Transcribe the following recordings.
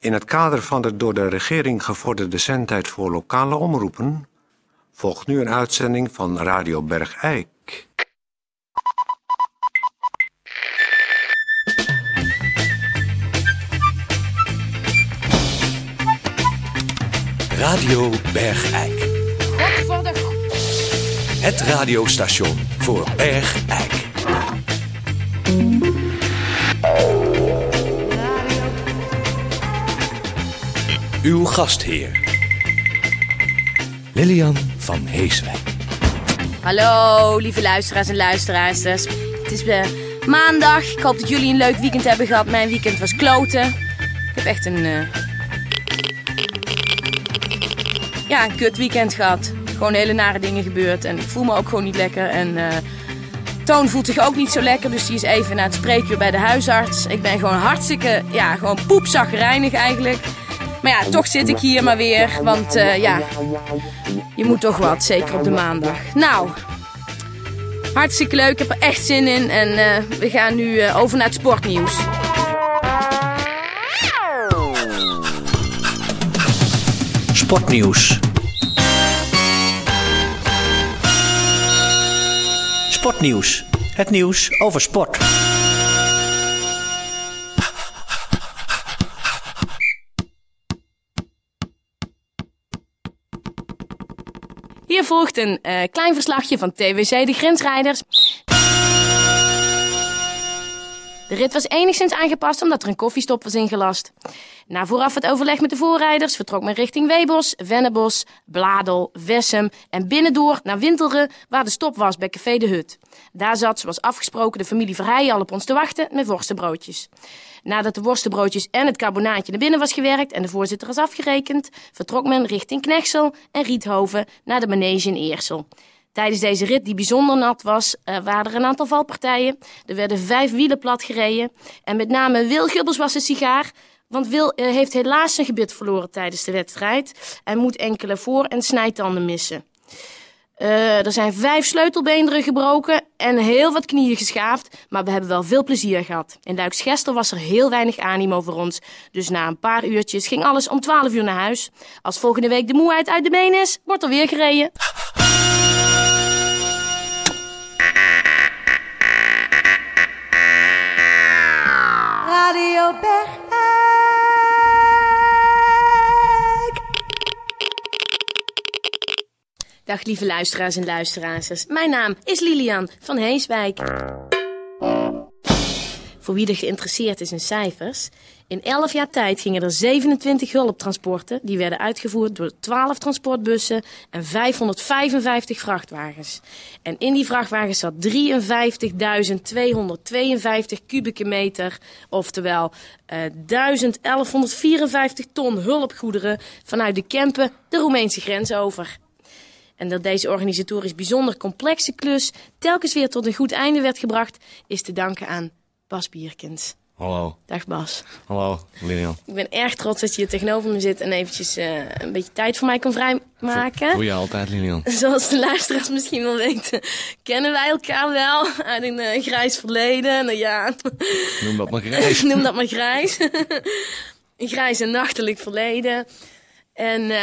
In het kader van de door de regering gevorderde zendtijd voor lokale omroepen volgt nu een uitzending van Radio Bergijk. Radio Bergijk. Het radiostation voor Bergijk. Uw gastheer. Lilian van Heeswijk. Hallo, lieve luisteraars en luisteraarsters. Het is eh, maandag. Ik hoop dat jullie een leuk weekend hebben gehad. Mijn weekend was kloten. Ik heb echt een... eh, Ja, een kut weekend gehad. Gewoon hele nare dingen gebeurd. En ik voel me ook gewoon niet lekker. En eh, Toon voelt zich ook niet zo lekker. Dus die is even naar het spreekuur bij de huisarts. Ik ben gewoon hartstikke... Ja, gewoon poepzagrijnig eigenlijk. Maar ja, toch zit ik hier maar weer. Want eh, ja, je moet toch wat, zeker op de maandag. Nou, hartstikke leuk. Ik heb er echt zin in. En eh, we gaan nu eh, over naar het sportnieuws. Sportnieuws. Sportnieuws. Het nieuws over sport. Hier volgt een eh, klein verslagje van TWC De Grensrijders. De rit was enigszins aangepast omdat er een koffiestop was ingelast. Na vooraf het overleg met de voorrijders vertrok men richting Weebos, Vennebos, Bladel, Wessem en binnendoor naar Winteren waar de stop was bij Café de Hut. Daar zat zoals afgesproken de familie Verheijen al op ons te wachten met worstenbroodjes. Nadat de worstenbroodjes en het carbonaatje naar binnen was gewerkt en de voorzitter was afgerekend, vertrok men richting Knechtsel en Riethoven naar de manege in Eersel. Tijdens deze rit, die bijzonder nat was, eh, waren er een aantal valpartijen. Er werden vijf wielen plat gereden. En met name Wil Gubbels was een sigaar. Want Wil eh, heeft helaas zijn gebit verloren tijdens de wedstrijd. En moet enkele voor- en snijtanden missen. Eh, er zijn vijf sleutelbeenderen gebroken en heel wat knieën geschaafd. Maar we hebben wel veel plezier gehad. In Luiksgester was er heel weinig animo voor ons. Dus na een paar uurtjes ging alles om 12 uur naar huis. Als volgende week de moeheid uit de been is, wordt er weer gereden. Radio Bergijk. Dag lieve luisteraars en luisteraars. Mijn naam is Lilian van Heeswijk. Voor wie er geïnteresseerd is in cijfers. In 11 jaar tijd gingen er 27 hulptransporten. Die werden uitgevoerd door 12 transportbussen en 555 vrachtwagens. En in die vrachtwagens zat 53.252 kubieke meter. Oftewel eh 1154 ton hulpgoederen vanuit de Kempen de Roemeense grens over. En dat deze organisatorisch bijzonder complexe klus telkens weer tot een goed einde werd gebracht, is te danken aan Bas Bierkens. Hallo, Dag Bas. hallo, Lilian. Ik ben erg trots dat je hier tegenover me zit en eventjes eh, een beetje tijd voor mij kon Doe vrijmaken. je altijd, Lilian? Zoals de luisteraars misschien wel weten, kennen wij elkaar wel uit een eh, grijs verleden. Nou ja, Noem dat maar grijs. noem dat maar grijs. een grijs en nachtelijk verleden. En eh,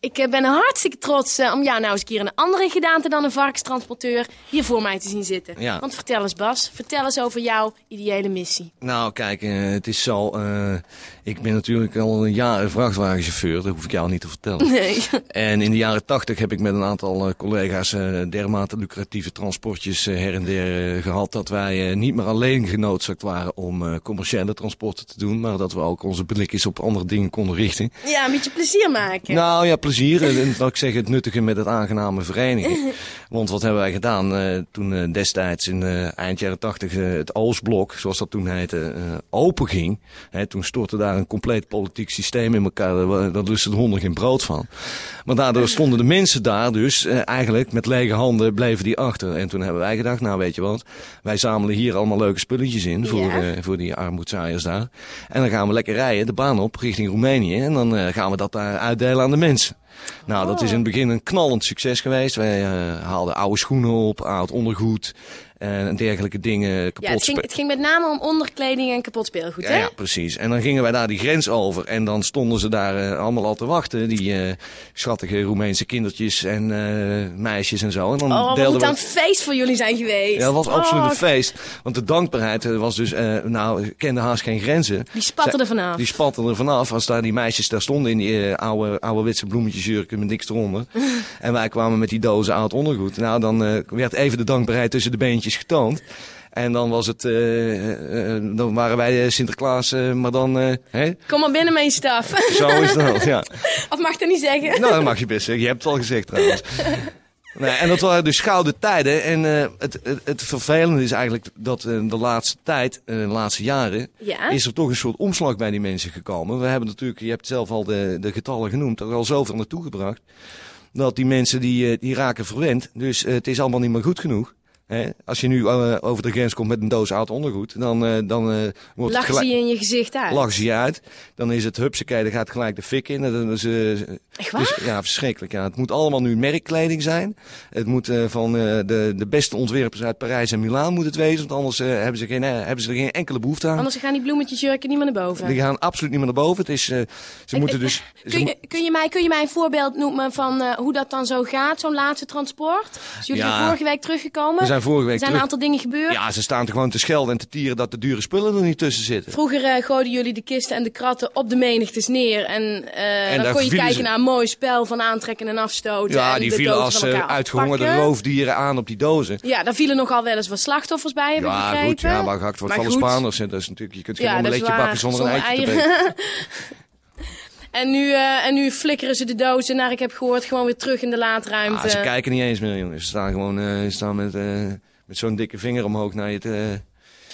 ik eh, ben hartstikke trots eh, om jou nou eens een keer in een andere gedaante dan een varkenstransporteur hier voor mij te zien zitten. Ja. Want vertel eens Bas, vertel eens over jouw ideële missie. Nou, kijk, eh, het is zo. eh, ik ben natuurlijk al een jaar vrachtwagenchauffeur, dat hoef ik jou niet te vertellen. Nee. En in de jaren tachtig heb ik met een aantal eh, collega's eh, dermate lucratieve transportjes eh, her en der eh, gehad. Dat wij eh, niet meer alleen genoodzaakt waren om eh, commerciële transporten te doen. Maar dat we ook onze blikjes op andere dingen konden richten. Ja, een beetje plezier maken. Nou ja, plezier. En en laat ik zeggen, het nuttige met het aangename verenigen. Want wat hebben wij gedaan eh, toen eh, destijds in eh, eind jaren tachtig het Oostblok, zoals dat toen heette, eh open ging. Hè, toen stortte daar een compleet politiek systeem in elkaar. Daar wa- Daar lustte de honden geen brood van. Maar daardoor stonden de mensen daar dus eh, eigenlijk met lege handen bleven die achter. En toen hebben wij gedacht, nou weet je wat, wij zamelen hier allemaal leuke spulletjes in voor, Ja. eh, voor die armoedzaaiers daar. En dan gaan we lekker rijden, de baan op, richting Roemenië. En dan eh, gaan we dat daar uitdelen aan de mensen. Nou, Oh. dat is in het begin een knallend succes geweest. Wij eh, haalden oude schoenen op, oud ondergoed. en dergelijke dingen kapot Ja, het, ging, spe- het ging met name om onderkleding en kapot speelgoed, ja, hè? ja, precies. En dan gingen wij daar die grens over. En dan stonden ze daar eh, allemaal al te wachten. Die eh, schattige Roemeense kindertjes en eh, meisjes en zo. En dan Oh, wat deelden moet we... aan een feest voor jullie zijn geweest. Ja, dat was absoluut Oh, een feest. Want de dankbaarheid eh, was dus, eh, nou, kende haast geen grenzen. Die spatten Zij- er vanaf. Die spatten er vanaf. Als daar die meisjes daar stonden in die eh, oude, ouderwetse bloemetjesjurken met niks eronder. en wij kwamen met die dozen oud ondergoed. Nou, dan eh, werd even de dankbaarheid tussen de beentjes getoond. En dan was het, eh, eh, dan waren wij eh, Sinterklaas, eh, maar dan, eh, hè? Kom maar binnen, mijn staf. zo is dat, ja. of mag ik dat niet zeggen? Nou, dat mag je best zeggen. Je hebt het al gezegd trouwens. Nee, en dat waren dus gouden tijden. En eh, het, het, het vervelende is eigenlijk dat eh, de laatste tijd, eh, de laatste jaren, Ja. is er toch een soort omslag bij die mensen gekomen. We hebben natuurlijk, je hebt zelf al de, de getallen genoemd, er al zoveel naartoe gebracht. Dat die mensen die, eh, die raken verwend. Dus eh, het is allemaal niet meer goed genoeg. Hè? Als je nu eh, over de grens komt met een doos oud ondergoed, dan, eh, dan eh, wordt het Lachen gelijk... ze je in je gezicht uit. Lachen ze je uit. Dan is het hupsakee, dan gaat gelijk de fik in. En Dan is, eh, Echt waar? dus, ja, verschrikkelijk. Ja. Het moet allemaal nu merkkleding zijn. Het moet eh, van eh, de, de beste ontwerpers uit Parijs en Milaan moet het wezen. Want anders eh, hebben, ze geen, eh, hebben ze er geen enkele behoefte aan. Anders gaan die bloemetjesjurken niet meer naar boven. Die gaan absoluut niet meer naar boven. Het is, eh, ze moeten dus... ze Kun mo- je, kun, je mij, kun je mij een voorbeeld noemen van eh, hoe dat dan zo gaat, zo'n laatste transport? Dus jullie Ja. zijn vorige week teruggekomen. We zijn vorige week Er zijn terug- een aantal dingen gebeurd. Ja, ze staan er gewoon te schelden en te tieren dat de dure spullen er niet tussen zitten. Vroeger eh, gooiden jullie de kisten en de kratten op de menigtes neer. En, eh, En daar dan kon je vielen kijken ze- naar een mooi spel van aantrekken en afstoten. Ja, en die de vielen dood als van eh, elkaar uitgehongerde afpakken. roofdieren aan op die dozen. Ja, daar vielen nogal wel eens wat slachtoffers bij, heb ik Ja, begrepen. goed. Ja, maar gehakt wordt Maar van de goed. Spaanders. En dat is natuurlijk, je kunt geen Ja, dat is omeletje waar. bakken zonder, een Zonder eitje te eieren. breken. En nu, eh, en nu flikkeren ze de dozen, naar ik heb gehoord, gewoon weer terug in de Ah, laadruimte. Nou, ze kijken niet eens meer, jongens. Ze staan gewoon eh, ze staan met, eh, met zo'n dikke vinger omhoog naar je te... Ah, het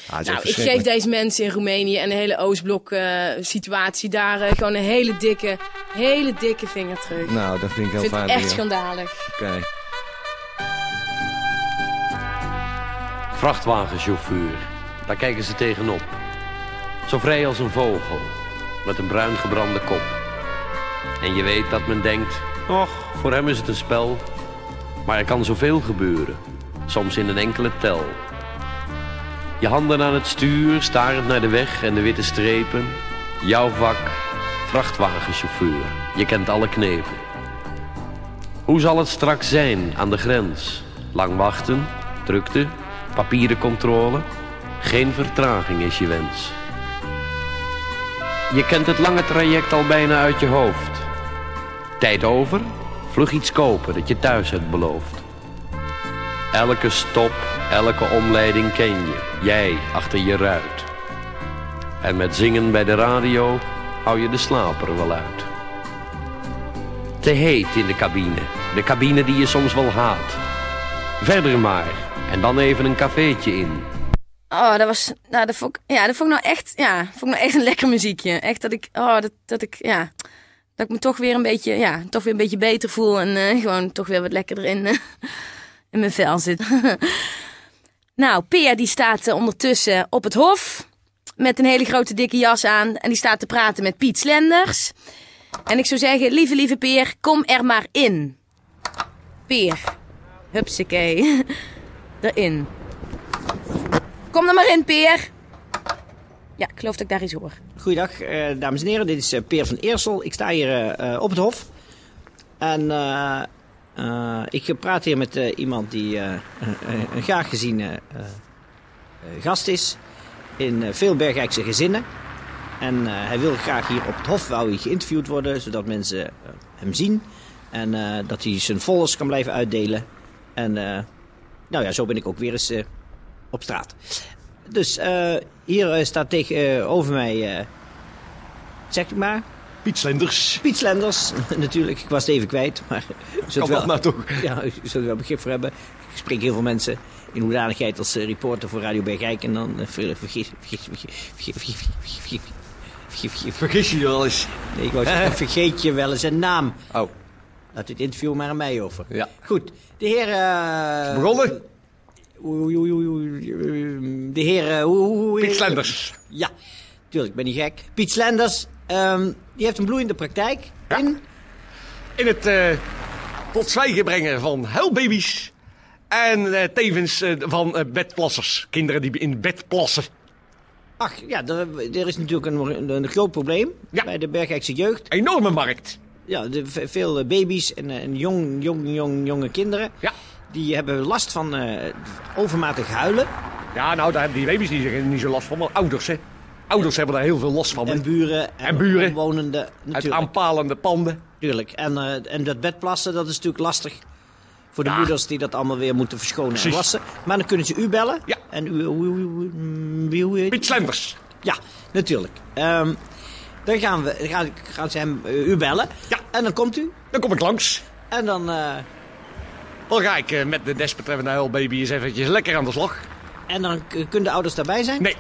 is Nou, echt ik geef verschrikkelijk. deze mensen in Roemenië en de hele Oostblok-situatie daar eh, gewoon een hele dikke, hele dikke vinger terug. Nou, dat vind ik heel ik vind fijn. het echt ja. schandalig. Oké. Vrachtwagenchauffeur, daar kijken ze tegenop. Zo vrij als een vogel, met een bruin gebrande kop. En je weet dat men denkt, och, voor hem is het een spel. Maar er kan zoveel gebeuren, soms in een enkele tel. Je handen aan het stuur, starend naar de weg en de witte strepen. Jouw vak, vrachtwagenchauffeur, je kent alle knepen. Hoe zal het straks zijn aan de grens? Lang wachten, drukte, papieren controle. Geen vertraging is je wens. Je kent het lange traject al bijna uit je hoofd. Tijd over, vlug iets kopen dat je thuis hebt beloofd. Elke stop, elke omleiding ken je, jij achter je ruit. En met zingen bij de radio hou je de slaper wel uit te heet in de cabine. De cabine die je soms wel haat. Verder maar. En dan even een cafeetje in. Oh, dat was, nou, dat vond ik, ja, dat vond ik nou echt, ja, vond ik nou echt een lekker muziekje. Echt dat ik, oh, dat, dat ik, ja, dat ik me toch weer een beetje, ja, toch weer een beetje beter voel en eh, gewoon toch weer wat lekkerder in, eh, in mijn vel zit. nou, Pia die staat eh, ondertussen op het hof met een hele grote dikke jas aan en die staat te praten met Piet Slenders. En ik zou zeggen, lieve, lieve Peer, kom er maar in. Peer, hupsakee, erin. Kom er maar in, Peer. Ja, ik geloof dat ik daar iets hoor. Goeiedag, eh, dames en heren. Dit is eh, Peer van Eersel. Ik sta hier eh, eh, op het Hof. En eh, eh, ik praat hier met eh, iemand die eh, eh, eh, een graag gezien eh, eh, gast is. In eh, veel Bergijkse gezinnen. En eh, hij wil graag hier op het Hof wou hij geïnterviewd worden. Zodat mensen eh, hem zien. En eh, dat hij zijn volgers kan blijven uitdelen. En eh, nou ja, zo ben ik ook weer eens eh, op straat. Dus eh, hier eh, staat tegenover mij, eh, zeg ik maar, Piet Slenders. Piet Slenders. Natuurlijk, ik was het even kwijt, maar u zult Kan dat wel, nou toch? ja, u zult er wel begrip voor hebben. Ik spreek heel veel mensen in hoedanigheid als eh, reporter voor Radio Bergijk en dan eh, ver- vergis, vergis, vergis, vergis, vergis, vergis, vergis, vergis- Vergis je wel eens. Nee, ik wou zeggen, vergeet je wel eens een naam. Oh, Laat het interview maar aan mij over. Ja. Goed, de heer... eh, begonnen? oei, oei, oei, oei, oei, De heer... eh, hoe- hoe- hoe- Piet Slenders. ja, tuurlijk, ik ben niet gek. Piet Slenders, ehm, die heeft een bloeiende praktijk. In, In het eh tot zwijgen brengen van huilbabies. En eh, tevens eh, van eh, bedplassers. Kinderen die in bed plassen. Ach, ja, er, er is natuurlijk een, een groot probleem Ja. bij de Bergijkse jeugd. Enorme markt. Ja, de, ve- veel eh, baby's en, eh, en jong, jong, jong, jonge kinderen. Ja. Die hebben last van eh, overmatig huilen. Ja, nou, daar hebben die baby's niet, zo- niet zo last van, maar ouders, hè. Ouders hebben daar heel veel last van. En hè. buren. En buren. Omwonenden, Uit natuurlijk. aanpalende panden. natuurlijk. En, eh, en dat bedplassen, dat is natuurlijk lastig. Voor de moeders die dat allemaal weer moeten verschonen en Precies. wassen. Maar dan kunnen ze u bellen. Ja. En u... hoe- hoe- hoe- mm, wie- hoe heet- Piet Slenders. Ja, natuurlijk. Ehm, dan gaan, we, gaan, gaan ze hem, eh, u bellen. Ja. En dan komt u. Dan kom ik langs. En dan... eh, Dan ga ik eh, met de desbetreffende huilbaby eens eventjes lekker aan de slag. En dan k- kunnen de ouders daarbij zijn? Nee,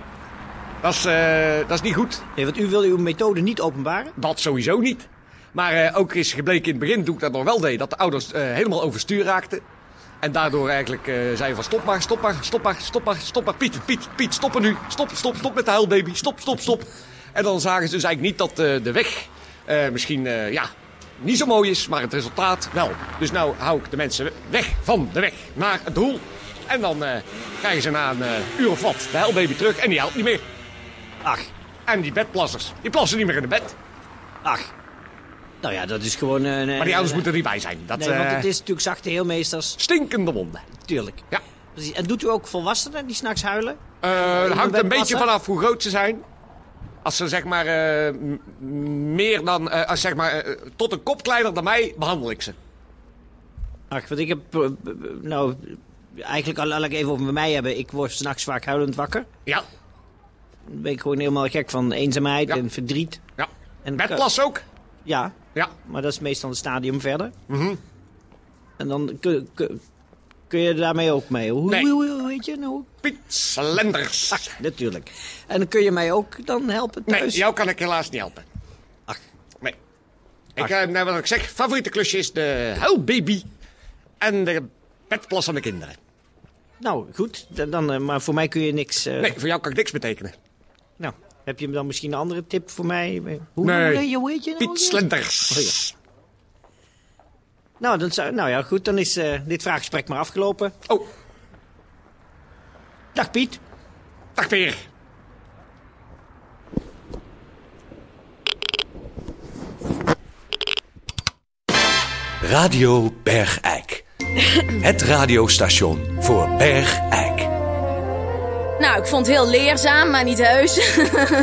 dat is, eh, dat is niet goed. Nee, want u wil uw methode niet openbaren. Dat sowieso niet. Maar eh, ook is gebleken in het begin, toen ik dat nog wel deed, dat de ouders eh, helemaal overstuur raakten. En daardoor eigenlijk eh, zeiden van stop maar, stop maar, stop maar, stop maar, stop maar. Piet, Piet, Piet, stoppen nu. Stop, stop, stop met de huilbaby. Stop, stop, stop. En dan zagen ze dus eigenlijk niet dat eh, de weg eh, misschien, eh, ja, niet zo mooi is, maar het resultaat wel. Dus nou hou ik de mensen weg van de weg naar het doel. En dan eh, krijgen ze na een eh, uur of wat de huilbaby terug en die helpt niet meer. Ach, En die bedplassers, die plassen niet meer in de bed. ach. Nou ja, dat is gewoon... eh, Maar die ouders moeten er niet bij zijn. Dat, Nee, want eh, het is natuurlijk zachte heelmeesters. Stinkende wonden. Tuurlijk. Ja. Precies. En doet u ook volwassenen die s'nachts huilen? Eh, je het hangt bent een beetje massa? vanaf hoe groot ze zijn. Als ze zeg maar eh, m- m- meer dan, eh, als zeg maar eh, tot een kop kleiner dan mij, behandel ik ze. Ach, want ik heb... eh, b- b- Nou, eigenlijk al laat ik even over mij hebben. Ik word s'nachts vaak huilend wakker. Ja, Dan ben ik gewoon helemaal gek van eenzaamheid Ja. en verdriet. ja. En Met plas ook. Ja, Ja, Mhm. maar dat is meestal een stadium verder. En dan kun, kun, kun je daarmee ook mee. Hoe, Nee. hoe, hoe heet je nou? Piet Slenders. Ach, natuurlijk. En dan kun je mij ook dan helpen thuis? nee, jou kan ik helaas niet helpen. Ach, Nee. Ik, eh, nou, wat ik zeg, favoriete klusje is de huilbaby en de bedplas aan de kinderen. nou, goed. Dan, dan, eh, maar voor mij kun je niks... eh, Nee, voor jou kan ik niks betekenen. Nou, heb je dan misschien een andere tip voor mij? Eh, Hoe, Nee. hoe, hoe heet je nou? Piet weer? Slenders. Oh, Nou, dan zou, nou ja, goed. Dan is eh, dit vraaggesprek maar afgelopen. Oh, Dag Piet. dag Peer. Radio Bergijk. Het radiostation voor Bergijk. Nou, ik vond het heel leerzaam, maar niet heus.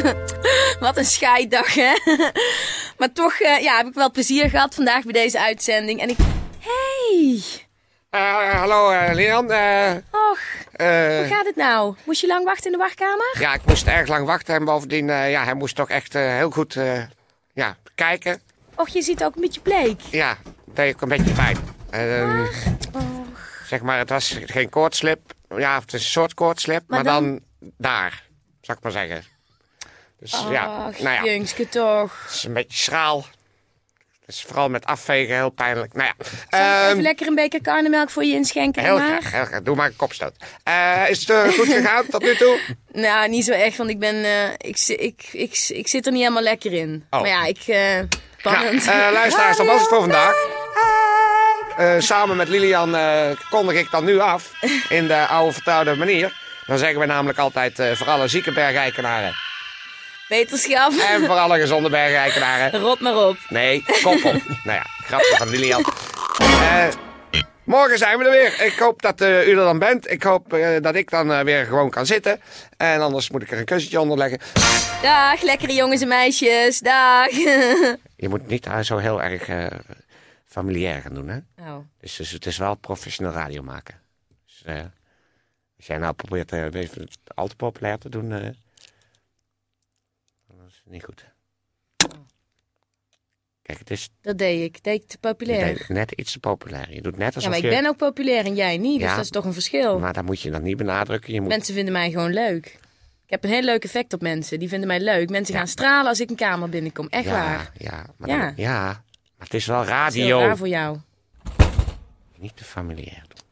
Wat een scheiddag, hè? maar toch eh, ja, heb ik wel plezier gehad vandaag bij deze uitzending. En ik... Hey! Eh, hallo eh Leon. Eh, Och, hoe eh, gaat het nou? Moest je lang wachten in de wachtkamer? ja, ik moest erg lang wachten en bovendien, eh, ja, hij moest toch echt eh, heel goed eh, ja, kijken. Och, je ziet ook een beetje bleek. Ja, dat deed ook een beetje pijn. Eh, Zeg maar, het was geen koortslip. Ja, het is een soort koortslip, maar, Maar dan... daar, zal ik maar zeggen. Dus ja, Ach, nou ja, jungske toch. het is een beetje schraal. Dus vooral met afvegen heel pijnlijk. Nou ja, Zal ik ehm, even lekker een beker karnemelk voor je inschenken, heel maar? graag, heel graag. Doe maar een kopstoot. Eh, is het eh, goed gegaan tot nu toe? Nou, niet zo echt, want ik ben... eh, ik, zi- ik, ik, ik, zit er niet helemaal lekker in. Oh. Maar ja, ik... eh spannend. Nou, eh, luisteraars, dat was het voor vandaag. Eh, samen met Lilian eh, kondig ik dan nu af. In de oude vertrouwde manier. Dan zeggen we namelijk altijd eh, voor alle zieke bergrijkenaren. Wetenschap. En voor alle gezonde bergrijkenaren. Rot maar op. Eh, Nee, kop op. nou ja, grapje van Lilian. Eh, morgen zijn we er weer. Ik hoop dat eh, u er dan bent. Ik hoop eh, dat ik dan eh, weer gewoon kan zitten. En anders moet ik er een kussentje onder leggen. Dag, lekkere jongens en meisjes. Dag. Je moet niet eh, zo heel erg eh, familiair gaan doen, hè? Nou, Dus, dus het is wel professioneel radio maken. Dus, eh, als jij nou probeert eh, even het al te populair te doen, eh, dan is het niet goed. Kijk, het is dat deed ik. Deed ik te je populair. deed net iets te populair. Je doet net Ja, alsof maar ik je... ben ook populair en jij niet. Dus Ja. dat is toch een verschil. Maar dat moet je dan niet benadrukken. Je moet... Mensen vinden mij gewoon leuk. Ik heb een heel leuk effect op mensen. Die vinden mij leuk. Mensen gaan stralen als ik een kamer binnenkom. Echt ja, Ah, waar. Ja, maar Ja. dan- ja, maar het is wel Dat is heel radio. raar voor jou. Niet te familiair doen.